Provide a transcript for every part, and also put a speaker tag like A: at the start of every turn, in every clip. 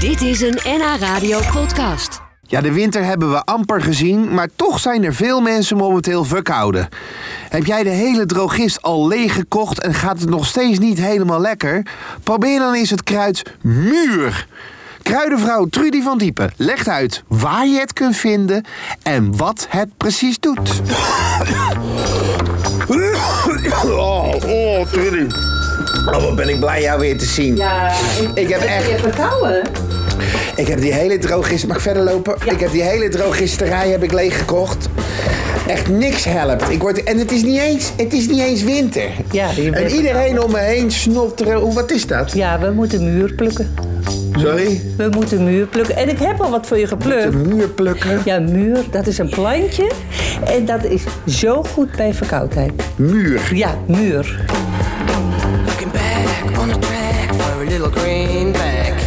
A: Dit is een NH Radio podcast.
B: Ja, de winter hebben we amper gezien, maar toch zijn er veel mensen momenteel verkouden. Heb jij de hele drogist al leeg gekocht en gaat het nog steeds niet helemaal lekker? Probeer dan eens het kruid muur. Kruidenvrouw Trudy van Diepen legt uit waar je het kunt vinden en wat het precies doet.
C: Oh, oh, Trudy. Oh, wat ben ik blij jou weer te zien.
D: Ja,
C: Ik heb echt-
D: Je verkouden?
C: Ik heb die hele drogist... Mag ik verder lopen? Ik heb die hele drogisterij heb ik leeggekocht. Echt niks helpt. Ik word, en het is niet eens, het is niet eens winter.
E: Ja, je
C: en
E: bent-
C: iedereen om me heen snopt er... Hoe- Wat is dat?
E: Ja, we moeten muur plukken.
C: Sorry?
E: We moeten muur plukken. En ik heb al wat voor je geplukt.
C: Muur plukken.
E: Ja, muur, dat is een plantje. En dat is zo goed bij verkoudheid.
C: Muur.
E: Ja, muur.
F: Looking back on the track for a little greenback.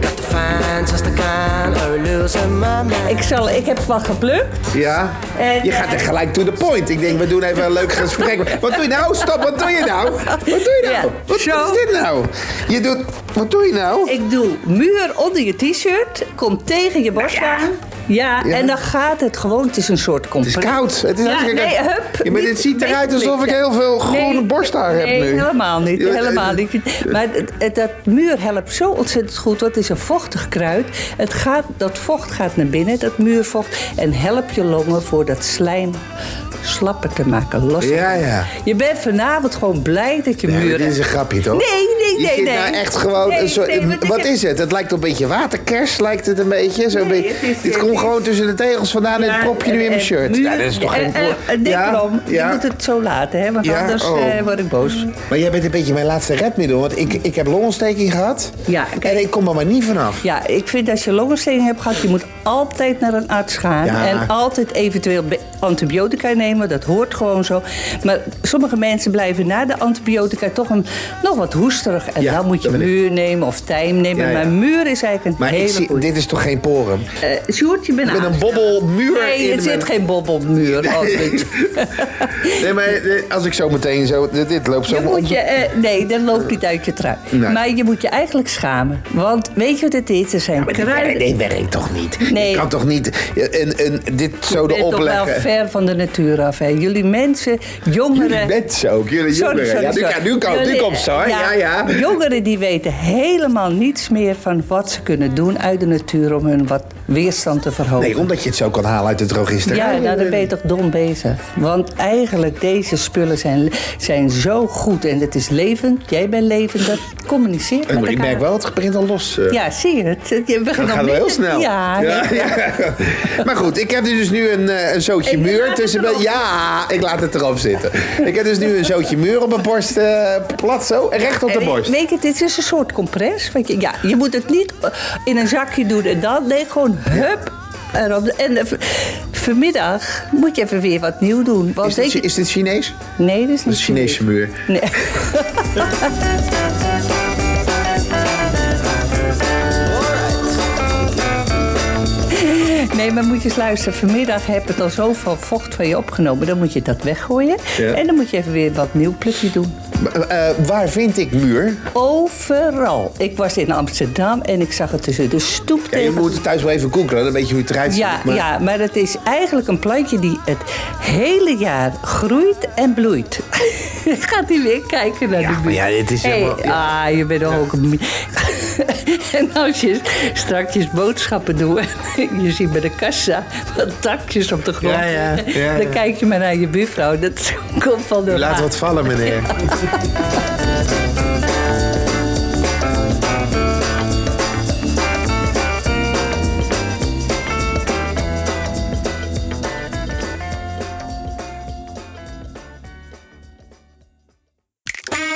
F: Got to find just the kind of losing my mind.
E: Ik, zal, ik heb wat geplukt.
C: Ja?
E: En, eh,
C: je gaat er gelijk to the point. Ik denk, we doen even een leuk gesprek. Wat doe je nou? Stop, wat doe je nou? Wat doe je nou?
E: Ja,
C: Wat, wat
E: zo.
C: is dit nou? Je doet... Wat doe je nou?
E: Ik doe muur onder je t-shirt. Komt tegen je borst aan. Ja,
C: Ja.
E: en dan gaat het gewoon. Het is een soort
C: Het is
E: complex.
C: koud. Het is
E: Ja,
C: hartstikke
E: nee,
C: koud.
E: hup,
C: Ja, maar
E: niet
C: dit ziet eruit alsof ik
E: wegklikken.
C: heel veel groene
E: Nee,
C: borsthaar heb
E: nee,
C: nu.
E: helemaal niet.
C: Ja,
E: Helemaal
C: eh,
E: niet. Maar het- het- dat muur helpt zo ontzettend goed. want Het is een vochtig kruid. Het gaat, dat vocht gaat naar binnen, dat muurvocht. En helpt je longen voor dat slijm slapper te maken, los.
C: Ja, ja.
E: Je bent vanavond gewoon blij dat je
C: Nee,
E: muur
C: dit is een
E: hebt.
C: grapje, toch?
E: Nee, nee,
C: Je
E: nee,
C: zit
E: nee.
C: nou echt gewoon
E: Nee,
C: een soort...
E: nee, want ik
C: wat
E: heb-
C: is het? Het lijkt op een beetje waterkers, lijkt het een beetje. Zo'n
E: Nee,
C: beetje.
E: het is-
C: dit
E: het
C: komt
E: is-
C: gewoon tussen de tegels vandaan en het propje nu in mijn shirt.
E: Muur-
C: ja, dat is toch
E: en-
C: geen...
E: en-
C: pro-
E: en denk
C: Ja,
E: erom,
C: ja.
E: je moet het zo laten, hè, want
C: Ja,
E: anders
C: oh.
E: eh, word ik boos.
C: Maar jij bent een beetje mijn laatste redmiddel, want ik, ik heb longontsteking gehad.
E: Ja, kijk.
C: En ik kom er maar niet vanaf.
E: Ja, ik vind als je longontsteking hebt gehad, je moet altijd naar een arts gaan.
C: Ja.
E: En altijd eventueel be- antibiotica nemen, dat hoort gewoon zo. Maar sommige mensen blijven na de antibiotica toch een, nog wat hoesterig. En
C: Ja,
E: dan moet je
C: dat ben ik.
E: muur nemen of tijm nemen.
C: Ja, ja.
E: Maar muur is eigenlijk een
C: Maar ik
E: hele
C: zie,
E: goeie.
C: dit is toch geen porum?
E: Eh, Sjoerd, je bent
C: Met een
E: aan.
C: bobbelmuur
E: Nee,
C: in mijn-
E: er zit geen bobbelmuur. Oh, dit-
C: Nee, maar eh, als ik zo meteen zo... Dit, dit loopt zo...
E: Je
C: om-
E: moet je, eh, nee, dat loopt niet uit je trui.
C: Nee.
E: Maar je moet je eigenlijk schamen. Want weet je wat het is? Er zijn
C: Maar dit werkt,
E: kruiden.
C: dit werkt toch niet?
E: Nee.
C: Je kan toch niet eh, een, een, dit zo
E: Je bent
C: erop
E: toch wel
C: leggen?
E: ver van de natuur af. Hè? Jullie mensen, jongeren...
C: Net zo, ook jullie
E: Sorry,
C: jongeren.
E: sorry,
C: Ja, nu,
E: sorry.
C: kan- nu, kan- nu
E: Jullie-
C: komt ze hoor. Ja, ja.
E: Jongeren die weten helemaal niets meer van wat ze kunnen doen uit de natuur om hun wat weerstand te verhogen.
C: Nee, omdat je het zo kan halen uit de drogister.
E: Ja, nou, dan ben je toch dom bezig. Want eigenlijk, deze spullen zijn, zijn zo goed. En het is levend. Jij bent levend. Dat communiceert met
C: Maar
E: elkaar.
C: ik merk wel, het begint al los. eh.
E: Ja, zie je het? Je begint
C: Dat
E: al
C: gaat wel heel
E: minder-
C: snel.
E: Ja, ja.
C: ja. Maar goed, ik heb dus nu een, eh, een zootje
E: Ik laat
C: muur
E: het
C: tussen...
E: erop.
C: Ja, ik laat het erop zitten. Ik heb dus nu een zootje muur op mijn borst. eh, plat zo, en recht op de
E: En
C: borst.
E: Weet je, dit is een soort compress. Want je, ja, je moet het niet eh, in een zakje doen en dan. Nee, gewoon hup. erop. En eh, v- vanmiddag moet je even weer wat nieuw doen. Want
C: Is dit,
E: weet je-
C: is dit Chinees?
E: nee, dat is
C: Dat
E: niet
C: is Chinese
E: goed.
C: muur.
E: Nee. Nee, maar moet je eens luisteren. Vanmiddag heb het al zoveel vocht van je opgenomen. Dan moet je dat weggooien.
C: Ja.
E: En dan moet je even weer wat nieuw plukje doen.
C: Eh, eh, waar vind ik muur?
E: Overal. Ik was in Amsterdam en ik zag het tussen de stoep
C: Ja, je
E: tegen-
C: moet het thuis wel even googlen, dan weet je hoe het eruit ziet.
E: Ja,
C: maar-
E: ja, maar het is eigenlijk een plantje die het hele jaar groeit en bloeit. Gaat hij weer kijken naar de
C: maar
E: buurt.
C: ja, dit is
E: Hey,
C: helemaal-
E: Ah, je bent ook een... mie- en als je straks boodschappen doet... en je ziet bij de kassa wat takjes op de grond.
C: Ja, ja, ja, ja.
E: Dan kijk je maar naar je buurvrouw. Dat komt van de
C: U Laat
E: raad.
C: wat vallen, meneer.